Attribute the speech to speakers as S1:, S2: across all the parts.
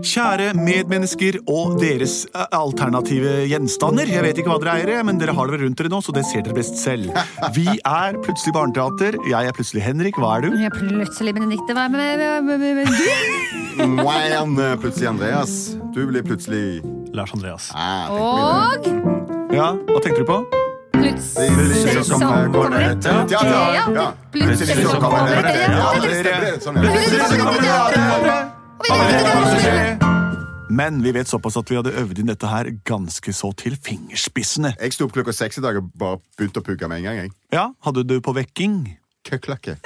S1: Kjære medmennesker og deres eh, alternative gjenstander. Jeg vet ikke hva dere eier, men dere har dere rundt dere nå, så det ser dere best selv. Vi er plutselig Barneteater. Jeg er plutselig Henrik. Hva er du?
S2: Ja, plutselig, Benedikte. Hva med, med, med, med, med du?
S3: Wham! eh, Plutselig Andreas. Du blir plutselig
S1: Lars Andreas.
S3: ah, tenk på det.
S2: Og
S1: Ja, Hva tenkte du på?
S2: plutselig så kommer det et
S3: Ja, ja, ja.
S2: teater. Plutselig så kommer det et
S3: Ja,
S2: teater.
S3: det stemmer. Sånn er det.
S2: Plutselig så kommer det et teater.
S1: Men vi vet såpass at vi hadde øvd inn dette her ganske så til fingerspissene.
S3: Jeg sto opp klokka seks i dag og bare begynte å pugge med en gang. jeg.
S1: Ja, hadde du på vekking?
S3: Køklakke.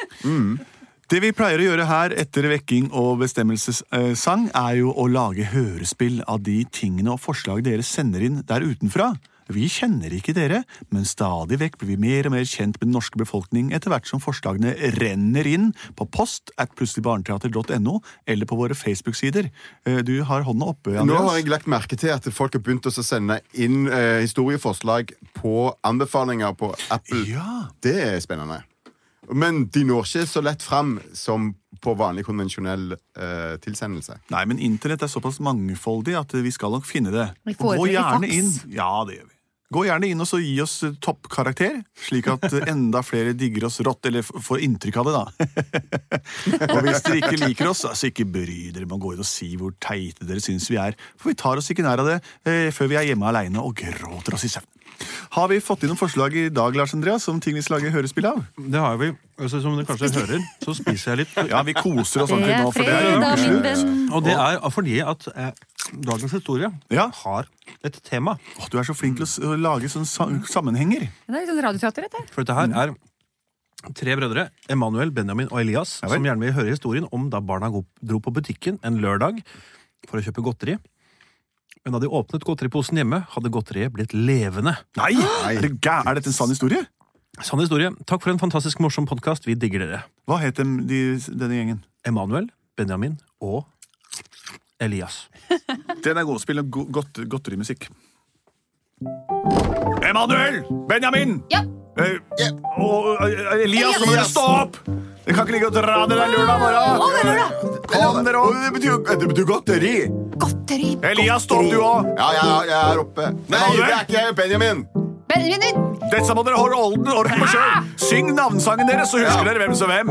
S1: Det vi pleier å gjøre her etter vekking og bestemmelsessang, er jo å lage hørespill av de tingene og forslag dere sender inn der utenfra. Vi kjenner ikke dere, men stadig vekk blir vi mer og mer kjent med den norske befolkning etter hvert som forslagene renner inn på post at plutseligbarneteater.no eller på våre Facebook-sider. Eh, Du har hånda oppe,
S3: Nå har
S1: Andreas.
S3: jeg lagt merke til at folk har begynt å sende inn eh, historieforslag på anbefalinger på Apple.
S1: Ja.
S3: Det er spennende. Men de når ikke så lett fram som på vanlig konvensjonell eh, tilsendelse.
S1: Nei, men internett er såpass mangfoldig at vi skal nok finne det.
S2: Vi
S1: Og Gå
S2: foretrekker
S1: gjerne
S2: fax.
S1: inn. Ja, det gjør vi. Gå gjerne inn og så gi oss eh, toppkarakter, slik at eh, enda flere digger oss rått, eller f- får inntrykk av det, da. og hvis dere ikke liker oss, altså ikke bry dere med å gå inn og si hvor teite dere syns vi er, for vi tar oss ikke nær av det eh, før vi er hjemme aleine og gråter oss i søvn. Har vi fått inn noen forslag i dag, Lars Andreas, om ting vi skal lage hørespill av?
S4: Det har vi. Altså, som du kanskje hører, så spiser jeg litt.
S1: Ja, vi koser oss
S2: Det
S1: ordentlig
S2: er
S1: nå, for det er
S2: fredag, min
S1: ukeslutt.
S2: venn.
S4: Og det er fordi at eh, dagens historie
S1: Ja.
S4: har et tema.
S1: Å, Du er så flink til å s- å lage sånne sa- sammenhenger.
S2: Det er litt sånn radioteater, dette.
S4: For dette her er tre brødre, Emanuel, Benjamin og Elias,
S1: Ja vel.
S4: som gjerne vil høre historien om da barna go- dro på butikken en lørdag for å kjøpe godteri. Men da de åpnet godteriposen hjemme, hadde godteriet blitt levende.
S1: Nei! Er, det gæ- er dette en sann historie?
S4: Sann historie. Takk for en fantastisk morsom podkast. Vi digger dere.
S1: Hva het dem, de, denne gjengen?
S4: Emanuel, Benjamin og Elias.
S1: Den er god å spille go godt, godterimusikk. Emanuel! Benjamin!
S2: Ja.
S1: Eh, Og eh, Elias, nå må dere
S3: Elias!
S1: stå opp! Dere kan ikke ligge og dra dere der lørdag morgen. Kom dere opp!
S3: Det betyr, jo- det betyr godteri!
S2: Godteri.
S1: Elias, stå opp, du òg!
S3: Ja, ja, jeg er oppe. Nei, det er ikke jeg, Benjamin!
S2: Benjamin,
S1: Dette må dere holde orden orden på sjøl. Syng navnesangen deres, så husker
S3: Ja.
S1: dere hvem som hvem.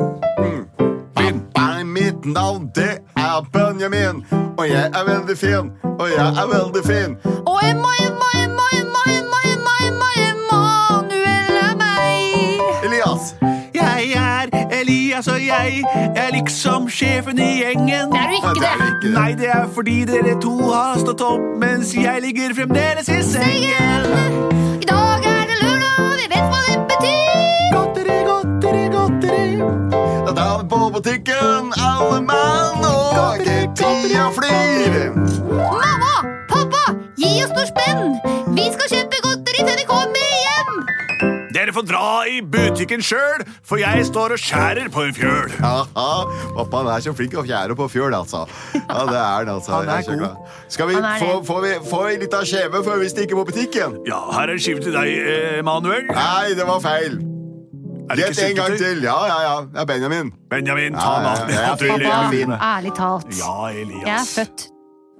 S3: Nei, mitt navn det er Benjamin, og jeg er veldig fin, og jeg er veldig fin.
S2: Og Emma, Emma, Emma, Emma, Emma, Emma, Emma, Emanuel er meg.
S3: Elias.
S1: Jeg er Elias, og jeg er liksom sjefen i gjengen.
S2: Det er du
S3: Ja,
S2: ikke,
S3: det er
S2: det.
S3: ikke
S1: Nei, det er fordi dere to har stått opp mens jeg ligger fremdeles i sengen.
S2: I dag er det lørdag, og vi vet hva det betyr.
S1: Godteri, godteri, godteri.
S3: Da drar vi på butikken, alle mann, og ikke tida flyr.
S2: Mamma, pappa, gi oss noe spenn. Vi skal kjøpe godteri til de kommer hjem.
S1: Dere får dra i butikken sjøl, for jeg står og skjærer på en fjøl.
S3: Haha, pappa han er så flink å fjære på fjøl, altså. Ja, det er han, altså.
S1: Han er
S3: Jeg så
S1: god.
S3: glad. Skal vi
S2: Han er
S3: få,
S2: det.
S3: får vi, får vi litt av skjeve før vi stikker på butikken?
S1: Ja, her er en skive til deg, Emanuel.
S3: Nei, det var feil.
S1: Er det ikke
S3: Gjett en gang
S1: syltetøy?
S3: til. Ja, ja, ja. Det er Benjamin.
S1: Benjamin, ta
S3: Ja, ja,
S1: maten.
S3: ja, ja,
S1: Ja,
S3: ja,
S1: til-
S3: ja, fin.
S2: Ærlig talt.
S1: ja, Elias.
S2: Jeg er født.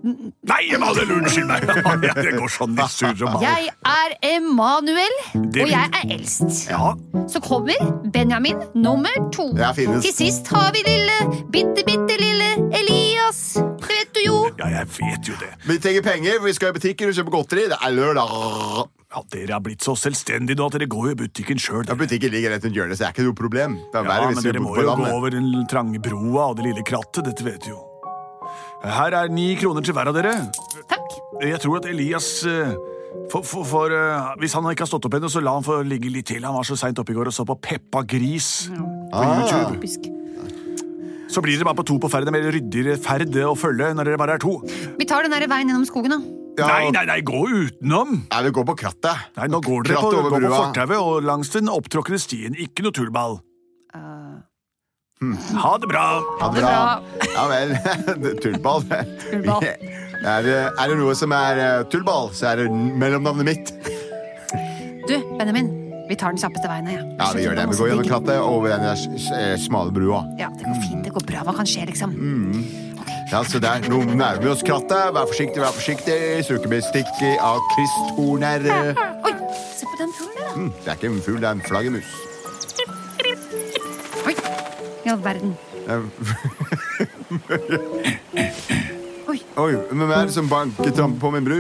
S1: Nei, Emanuel, unnskyld meg! Ja, Det går sånn i surr og ball.
S2: Jeg er Emanuel,
S1: Det-
S2: og jeg er eldst.
S1: Ja,
S2: Så kommer Benjamin nummer to.
S3: Det er finest.
S2: Til sist har vi lille, bitte, bitte lille Elias. Det vet du jo.
S1: ja, jeg vet jo det.
S3: Vi trenger penger, for vi skal i butikken og kjøpe godteri. Det er lørdag.
S1: Ja, Dere har blitt så selvstendige nå at dere går i butikken sjøl.
S3: Ja, Butikken ligger rett rundt hjørnet, så det er ikke noe problem. Det er verre
S1: Ja, men
S3: hvis du
S1: dere
S3: bor
S1: må
S3: på
S1: jo gå
S3: landet.
S1: over den trange broa og det lille krattet, dette vet du jo. Her er ni kroner til hver av dere.
S2: Takk.
S1: Jeg tror at Elias eh, for, for, for, eh, Hvis han ikke har stått opp ennå, så la han få ligge litt til. Han var så seint oppe i går og så på Peppa Gris
S3: Ah.
S1: på YouTube.
S2: Typisk.
S1: Så blir dere bare på to på ferd. Det er mer ryddigere ferd å følge når dere bare er to.
S2: Vi tar den der veien gjennom skogen, da.
S3: Ja,
S1: Nei, nei, nei, gå utenom!
S3: Nei, vi går på krattet.
S1: Nei, Nå går dere på,
S3: Krattet over
S1: gå på
S3: brua.
S1: fortauet og langs den opptråkkede stien. Ikke noe tullball. Ha det bra!
S3: Ha det
S2: bra.
S3: Ja vel. Tullball.
S2: Tullball.
S3: Er, det- er det noe som er eh, tullball, så er det n- mellomnavnet mitt.
S2: Du, Benjamin, vi tar den kjappeste veien. Ja,
S3: Ja, vi gjør det. Vi går gjennom krattet og over den der s- s- eh, smale brua. Mm.
S2: Ja, det går fint. Det går bra. Hva kan skje, liksom?
S3: Ja, se der. Nå nærmer vi oss krattet. Vær forsiktig, vær forsiktig. Sukerbit stikker av kristtorner.
S2: Oi, se på den fuglen der, da.
S3: Hm, Det er ikke en fugl, det er en flaggermus.
S2: Oi, i all verden. Oi,
S3: Oi, hvem er det som banker trampe på min bru?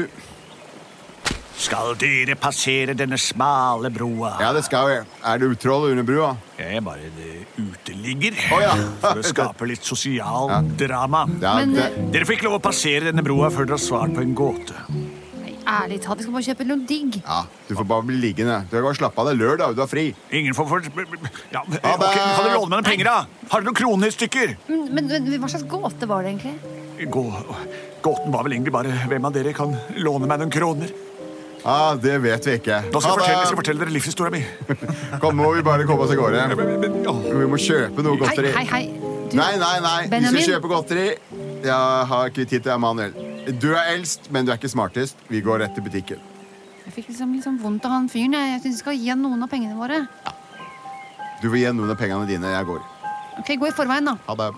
S1: Skal dere passere denne smale broa?
S3: Ja, det skal jeg. Er det utroll under brua?
S1: Jeg er bare en uteligger
S3: Å, ja.
S1: for å skape litt sosial drama.
S3: Ja,
S2: Men, eh,
S3: det...
S1: Dere fikk lov å passere denne broa før dere har svart på en gåte.
S2: nei, ærlig talt, jeg skal bare kjøpe noe digg.
S3: ja du får bare bli liggende. Du kan bare slappe av. Det er lørdag, du har fri.
S1: Ingen får for... Ja, ok,
S3: Ha det.
S1: kan du låne meg noen penger, da? Har du noen kroner i stykker?
S2: Men, men, men hva slags gåte var det egentlig?
S1: Gå... Gåten var vel egentlig bare hvem av dere kan låne meg noen kroner.
S3: Ja, det vet vi ikke.
S1: Nå skal jeg fortelle,
S3: Ha det.
S1: jeg skal fortelle dere livshistorien min.
S3: Kom, må vi bare komme oss av gårde.
S1: Men- men- ja.
S3: Vi må kjøpe noe
S2: Hei,
S3: godteri.
S2: hei, hei. Du,
S3: Nei, nei, nei. Vi
S2: Benjamin?
S3: skal kjøpe godteri. Jeg har ikke tid til Emanuel. Du er eldst, men du er ikke smartest. Vi går rett til butikken.
S2: Jeg fikk liksom, liksom vondt av han fyren. Jeg, jeg syns vi skal gi han noen av pengene våre.
S3: Du får gi noen av pengene dine. Jeg går.
S2: Ok, Gå i forveien, da.
S3: Ha det.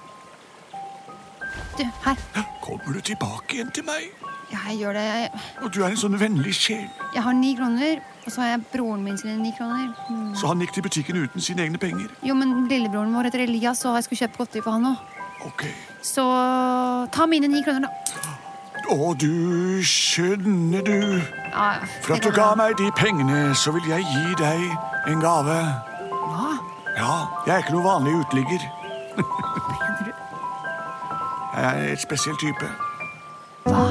S2: Du, her.
S1: Kommer du tilbake igjen til meg?
S2: Jeg gjør det. Jeg,
S1: Og du er en sånn vennlig sjel.
S2: jeg har ni kroner, og så har jeg broren min sine ni kroner. Mm.
S1: Så han gikk til butikken uten sine egne penger.
S2: Jo, men lillebroren vår heter Elias, og jeg skulle kjøpe godteri for han òg.
S1: Ok.
S2: Så ta mine ni kroner, da.
S1: Å, du skjønner du.
S2: Ja, ja,
S1: For
S2: det
S1: at du
S2: går
S1: ga
S2: bra.
S1: meg de pengene, så vil jeg gi deg en gave.
S2: Hva?
S1: Ja, jeg er ikke noen vanlig uteligger. Jeg er et spesiell type.
S2: Hva?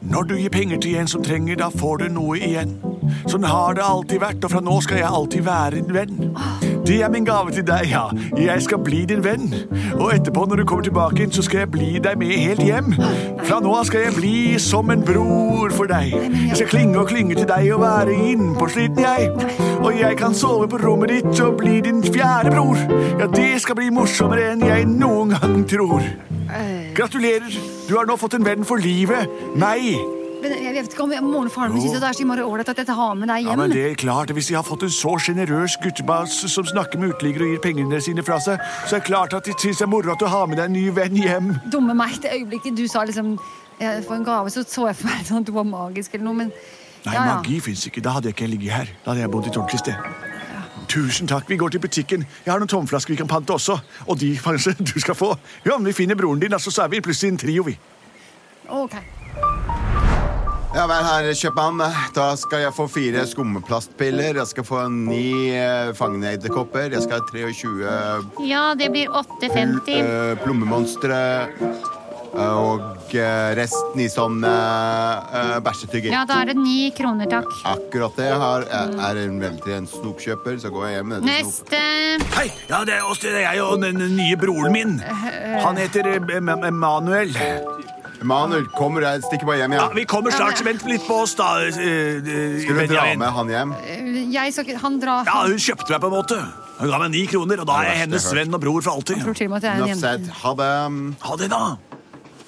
S1: Når du gir penger til en som trenger, da får du noe igjen. Sånn har det alltid vært, og fra nå skal jeg alltid være en venn. Det er min gave til deg, ja. Jeg skal bli din venn. Og etterpå, når du kommer tilbake igjen, så skal jeg bli deg med helt hjem. Fra nå av skal jeg bli som en bror for deg. Jeg skal klinge og klinge til deg og være innpåsliten, jeg. Og jeg kan sove på rommet ditt og bli din fjerde bror. Ja, det skal bli morsommere enn jeg noen gang tror. Gratulerer! Du har nå fått en venn for livet. Meg!
S2: Men jeg vet ikke om jeg- moren og faren min syns det er så innmari ålreit at jeg har med deg
S1: Ja,
S2: hjem.
S1: men det er klart, Hvis de har fått en så sjenerøs guttebass som snakker med uteliggere og gir pengene sine fra seg, så er det klart at de syns det er moro at du har med deg en ny venn hjem.
S2: Dumme meg. Det øyeblikket du sa liksom jeg får en gave, så så jeg for meg sånn at du var magisk eller noe, men
S1: Nei,
S2: ja, ja.
S1: magi fins ikke. Da hadde jeg ikke ligget her. Da hadde jeg bodd i et ordentlig sted. Tusen takk. Vi går til butikken. Jeg har noen tomflasker vi kan pante også. Og de kanskje du skal få. Ja, men vi finner broren din, altså, så er vi plutselig en trio, vi.
S2: Ok.
S3: Ja, vær her, kjøpmann. Da skal jeg få fire skummeplastpiller. Jeg skal få ni eh, fangende edderkopper. Jeg skal ha 23
S2: Ja, det blir 8,50.
S3: eh, plommemonstre. Og eh, resten i sånn eh, eh, bæsjetygger.
S2: da er det ni kroner, takk.
S3: Akkurat det jeg har. Jeg er en veldig en snopkjøper, så går jeg hjem med en snop.
S1: Hei! Ja, det er oss, det er jeg og den den nye broren min. Han heter eh, Em- Em- Emanuel.
S3: Emanuel, kommer du? Jeg stikker bare hjem,
S1: Ja,
S3: jeg.
S1: vi kommer straks. Vent litt på oss, da. eh, eh,
S3: Skal du dra
S1: Benjamin.
S3: med han hjem?
S2: Eh, Jeg skal ikke Han drar
S1: Ja, hun kjøpte meg på en måte. Hun ga meg ni kroner, og da er jeg
S3: Det er
S1: hennes
S3: verst jeg har
S1: venn og bror for alltid.
S2: tror til og med at jeg er en
S3: Enough
S2: jente.
S3: said. Ha det.
S1: Ha det, da.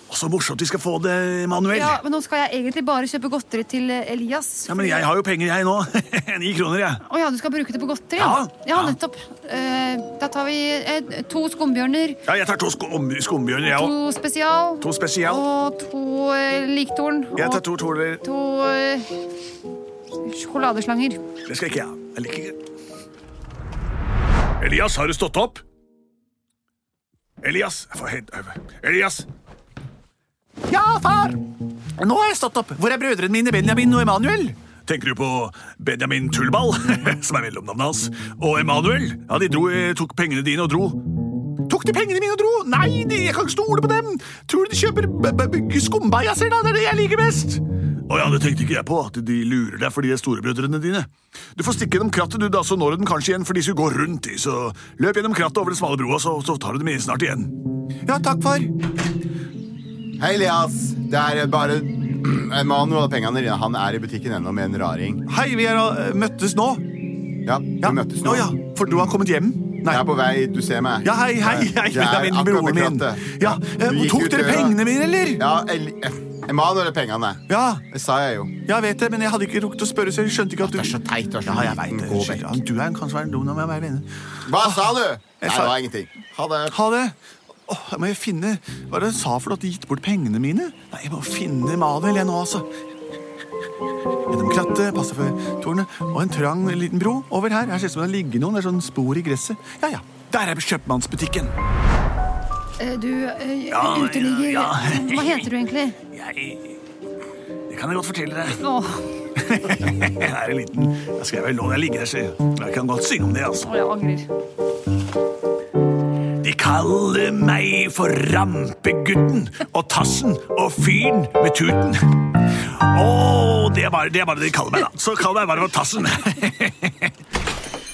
S1: Og så morsomt vi skal få det, Manuel.
S2: Ja, men nå skal jeg egentlig bare kjøpe godteri til eh, Elias.
S1: Ja, men jeg har jo penger, jeg nå. Ni kroner, jeg.
S2: Å ja, du skal bruke det på godteri?
S1: Ja.
S2: ja
S1: Ja.
S2: nettopp. Eh, da tar vi eh, to skumbjørner,
S1: Ja, jeg tar to skum skumbjørner, jeg òg.
S2: to spesial,
S1: To spesial.
S2: og to eh, liktorn.
S1: Jeg
S2: og
S1: tar to toler.
S2: to eh, sjokoladeslanger.
S1: Det skal ikke jeg ha. Jeg liker ikke Elias, har du stått opp? Elias jeg får helt øve. Elias! Ja, far! Nå har jeg stått opp. Hvor er brødrene mine, Benjamin og Emanuel? Tenker du på Benjamin Tullball, som er mellomnavnet hans, og Emanuel? Ja, de dro, eh, tok pengene dine og dro. Tok de pengene mine og dro? Nei, de, jeg kan ikke stole på dem! Tror du de kjøper b- b- b- skumbajazzer, da? Det er det jeg liker best! Å ja, det tenkte ikke jeg på, at de lurer deg fordi de er storebrødrene dine. Du får stikke gjennom krattet, du, da, så når du dem kanskje igjen, for de skulle gå rundt, de, så løp gjennom krattet over den smale broa, så, så tar du dem snart igjen. Ja, takk, far.
S3: Hei, Elias. Det er bare Emanuel og pengene dine. Han er i butikken ennå med en raring.
S1: Hei, vi er eh, møttes nå.
S3: Ja, vi møttes nå.
S1: Å ja, for du har kommet hjem? Nei.
S3: Jeg er på vei. Du ser meg.
S1: Ja, hei, hei, hei,
S3: Jeg er
S1: Benjamin,
S3: akkurat ved
S1: broren min.
S3: krattet.
S1: Ja, eh,
S3: Du gikk
S1: tok
S3: ut
S1: dere
S3: døra.
S1: pengene mine, eller?
S3: Ja, El eh, Emanuel er pengene.
S1: Ja,
S3: Det sa jeg jo.
S1: jeg vet det, men jeg hadde ikke rukket å spørre, så jeg skjønte ikke at du
S3: Det er så teit. Du er så
S1: Ja, jeg vet
S3: liten.
S1: det.
S3: Mm, Gå
S1: Unnskyld.
S3: vekk.
S1: Ja, Du er en- kanskje være en dum når jeg er alene.
S3: Hva sa du? Nei,
S1: Jeg
S3: det
S1: sa-
S3: var ingenting. Ha det.
S1: Ha det. Åh, jeg må jeg finne Hva er det hun sa for noe? At de gitt bort pengene mine? Nei, jeg må finne Manuel jeg nå, altså. Gjennom krattet, passe for tårnet, og en trang liten bro over her. Her ser det ut som det ligger noen. Det er sånn spor i gresset. Ja, ja. Der er kjøpmannsbutikken.
S2: Eh, Du eh, uteligger
S1: ja.
S2: Hva heter du egentlig?
S1: Jeg Det kan jeg godt fortelle deg.
S2: Åh,
S1: Jeg er en liten Jeg skrev vel nå jeg ligger der, så jeg kan godt synge om det, altså.
S2: jeg angrer.
S1: De kaller meg for rampegutten og tassen og fyren med tuten. Å, det er bare det er bare det de kaller meg, da. Så kall meg bare for tassen.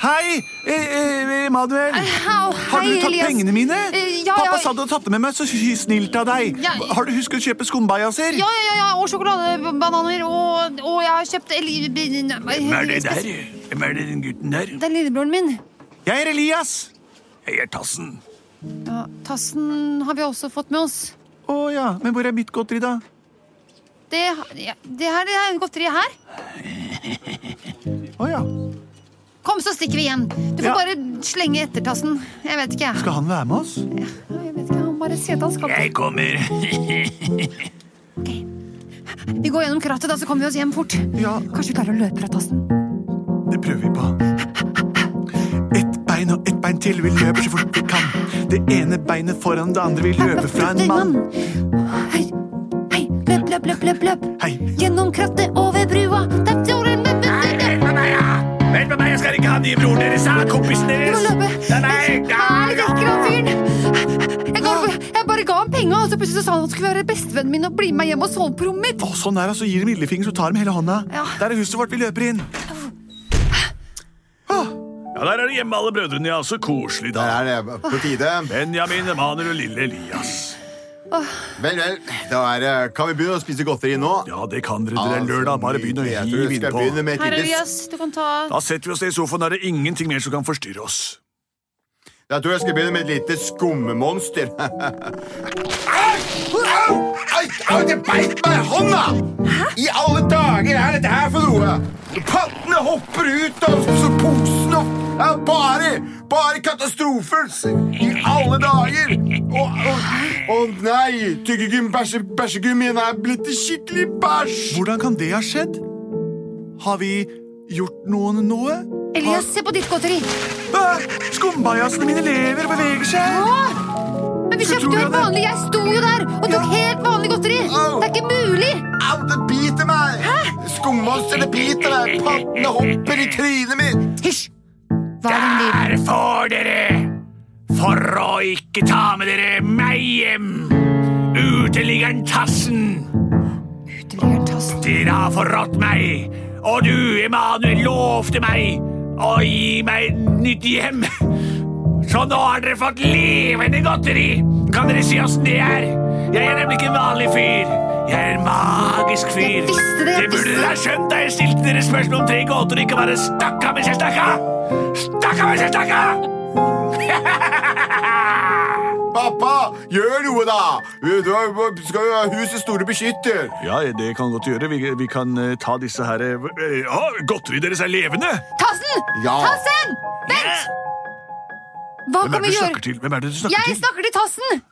S1: Hei, eh, Manuel.
S2: Au, Eh, hei,
S1: Har du tatt
S2: Elias.
S1: pengene mine?
S2: Eh, ja,
S1: Pappa
S2: ja.
S1: sa du hadde tatt det med meg, så hy- snilt av deg.
S2: Ja.
S1: Har du husket å kjøpe skumbeiaser?
S2: Ja, ja, ja, ja, og sjokoladebananer, og, og jeg har kjøpt el-
S1: Hvem er det der? Hvem er det den gutten der?
S2: Det er lillebroren min.
S1: Jeg er Elias. Jeg er Tassen.
S2: Ja, tassen har vi også fått med oss.
S1: Å ja, men hvor er mitt godteri, da?
S2: Det, ja, det her det er godteriet her.
S1: Å ja.
S2: Kom, så stikker vi igjen. Du får
S1: Ja.
S2: bare slenge etter tassen. Jeg vet ikke, jeg.
S1: Skal Eh, han være med oss?
S2: Ja, Jeg vet ikke, han bare sier at han skal
S1: Jeg kommer.
S2: Vi går gjennom krattet, da, så kommer vi oss hjem fort.
S1: Ja.
S2: Kanskje vi klarer å løpe fra tassen.
S1: Det prøver vi på. Ett bein og ett bein til, vi løper så fort vi kan. Det ene beinet foran det andre, vi løper fra en mann.
S2: Hei, hei, løp, løp, løp, løp, løp.
S1: Hei.
S2: Gjennom krattet, over brua. Der står en løp, løp, løp, løp.
S1: Vent med meg, jeg skal ikke ha den nye broren deres, ha kompisen
S2: Du
S1: deres.
S2: må løpe.
S1: Det er meg.
S2: Hva er det du snakker om, fyren? Jeg, ga, jeg bare ga ham penga, og så plutselig så sa han han skulle være bestevennen min og bli med meg hjem og sove på rommet mitt.
S1: Å, sånn er det, så gir de lillefinger, så tar de hele hånda.
S2: Ja.
S1: Der er huset vårt, vi løper inn. Ja, der er det hjemme alle brødrene, ja, så koselig
S3: Der er det på tide.
S1: Benjamin, Emanuel og lille Elias.
S3: Vel, vel. Da er det Kan vi begynne å spise godteri nå?
S1: Ja, det kan dere,
S3: Altså, Jeg tror vi skal begynne med
S2: Herre
S3: Tiddis.
S2: Elias, du kan ta
S1: Da setter vi oss ned i sofaen, da er det ingenting mer som kan forstyrre oss.
S3: Jeg tror jeg skal begynne med et lite skummemonster. au! Au! Au! Au! Det beit meg i hånda! I alle dager er dette her for noe? Pattene hopper ut av så posen og ja, Bare bare katastrofer s- i alle dager. Å nei! Tyggegum, bæsje, bæsjegummien er blitt til skikkelig bæsj.
S1: Hvordan kan det ha skjedd? Har vi gjort noen noe?
S2: Elias, se på ditt godteri.
S1: Ah, Skumbajasene mine lever og beveger seg!
S2: Å! Men vi
S1: Så
S2: kjøpte
S1: tror
S2: jo
S1: jeg
S2: helt
S1: det-
S2: vanlig. Jeg sto jo der og tok helt vanlig godteri.
S3: Au.
S2: Det er ikke mulig.
S3: Au, det biter meg! Skummonster, det biter meg! Pattene hopper i trynet mitt!
S2: Hysj! Hva er den lyden?
S1: Her får dere! For å ikke ta med dere meg hjem! Uteliggeren Tassen,
S2: Uteliggeren tassen.
S1: dere har forrådt meg. Og du, Emanuel, lovte meg å gi meg et nytt hjem. Så nå har dere fått levende godteri! Kan dere si åssen det er? Jeg er nemlig ikke en vanlig fyr. Jeg er en magisk fyr.
S2: Jeg visste det, jeg
S1: burde
S2: visste
S1: dere ha skjønt da jeg stilte dere spørsmål om tre gåter og ikke bare stakk av mens jeg stakk av! Stakk av mens jeg stakk av!
S3: Pappa, gjør noe, da! Du du- du skal jo ha husets store beskytter.
S1: Ja, det kan godt gjøre. Vi, kan eh, ta disse her eh, Godteriet deres er levende!
S2: Tassen!
S3: Ja.
S2: Tassen! Vent! Hva
S1: Hvem
S2: kan
S1: er
S2: vi
S1: det du
S2: gjøre?
S1: snakker til? Hvem er det du snakker
S2: Jeg
S1: til? Eh,
S2: snakker til Tassen!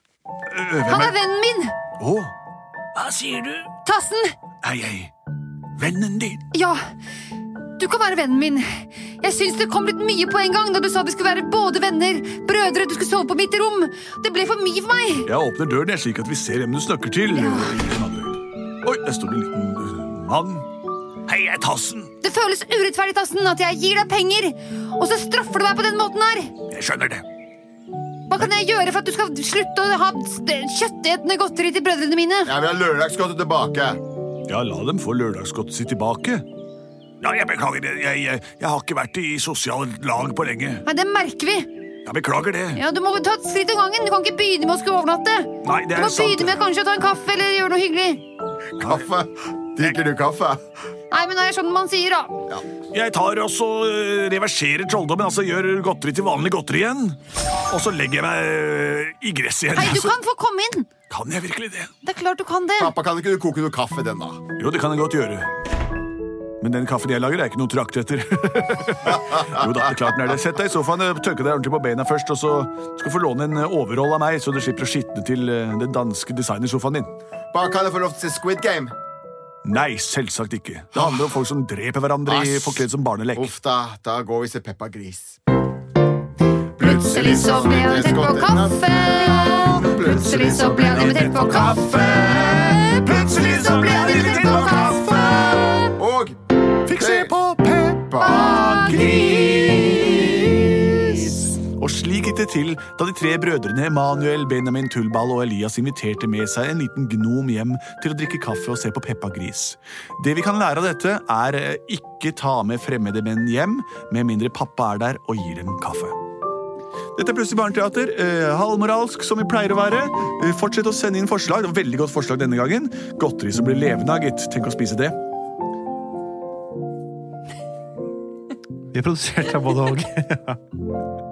S2: Han er vennen min!
S1: Hva sier du?
S2: Tassen!
S1: Hei, hei. Vennen din.
S2: Ja, du kan være vennen min. Jeg syns det kom litt mye på en gang da du sa vi skulle være både venner, brødre, du skulle sove på mitt rom. Det ble for mye for meg.
S1: Jeg åpner døren jeg, slik at vi ser hvem du snakker til. Emanuel. Oi, der står det en liten eh, mann. Hei, jeg er Tassen.
S2: Det føles urettferdig, Tassen, at jeg gir deg penger, og så straffer du meg på den måten her.
S1: Jeg skjønner det.
S2: Hva kan jeg gjøre for at du skal slutte å ha s- det- kjøttetende godteri til brødrene mine?
S3: Jeg vil ha lørdagsgodtet tilbake.
S1: Ja, la dem få lørdagsgodtet sitt tilbake. Ja, jeg beklager det. Jeg, jeg, jeg har ikke vært i sosiale lag på lenge.
S2: Nei, det merker vi.
S1: Jeg beklager det.
S2: Ja, Du må ta et skritt om gangen. Du kan ikke begynne med å skulle overnatte.
S1: Nei,
S2: Du
S1: det er
S2: må
S1: sant.
S2: begynne med kanskje å ta en kaffe eller gjøre noe hyggelig.
S3: Kaffe. Drikker du kaffe?
S2: Nei, men det er sånn man sier, da.
S1: Jeg tar også eh, reverserer trolldommen, altså gjør godteri til vanlig godteri igjen. Og så legger jeg meg eh, i gresset igjen.
S2: Hei, du
S1: Altså,
S2: kan få komme inn.
S1: kan jeg virkelig det?
S2: Det er klart du kan det.
S3: Pappa, kan ikke du koke noe kaffe den, da?
S1: Jo, det kan jeg godt gjøre. Men den kaffen jeg lager, er ikke noe trakt etter. jo da, det er klart den er det. Sett deg i sofaen, eh, tørke deg ordentlig på bena først, og så skal du få låne en eh, overall av meg, så du slipper å skitne til eh, den danske designersofaen din.
S3: Bare kan jeg få lov til å se Squid Game?
S1: Nei, selvsagt ikke. Det handler om folk som dreper hverandre i
S3: Ass.
S1: forkledd som barnelek.
S3: Uff da, da går vi til Peppa Gris.
S2: Plutselig så ble han tett på kaffe. Plutselig så ble han invitert på kaffe. Plutselig så ble han invitert på kaffe.
S3: Og
S1: Fikk se på Peppa Gris! Og slik gikk det til da de tre brødrene Emanuel, Benjamin Tullball og Elias inviterte med seg en liten gnom hjem til å drikke kaffe og se på Peppa Gris. Det vi kan lære av dette, er eh, ikke ta med fremmede menn hjem, med mindre pappa er der og gir dem kaffe. Dette er Plutselig barneteater. eh, halvmoralsk, som vi pleier å være. Eh, fortsett å sende inn forslag. Det var Veldig godt forslag denne gangen. Godteri som blir levende av, gitt. Tenk å spise det.
S4: Vi er produsert av både og.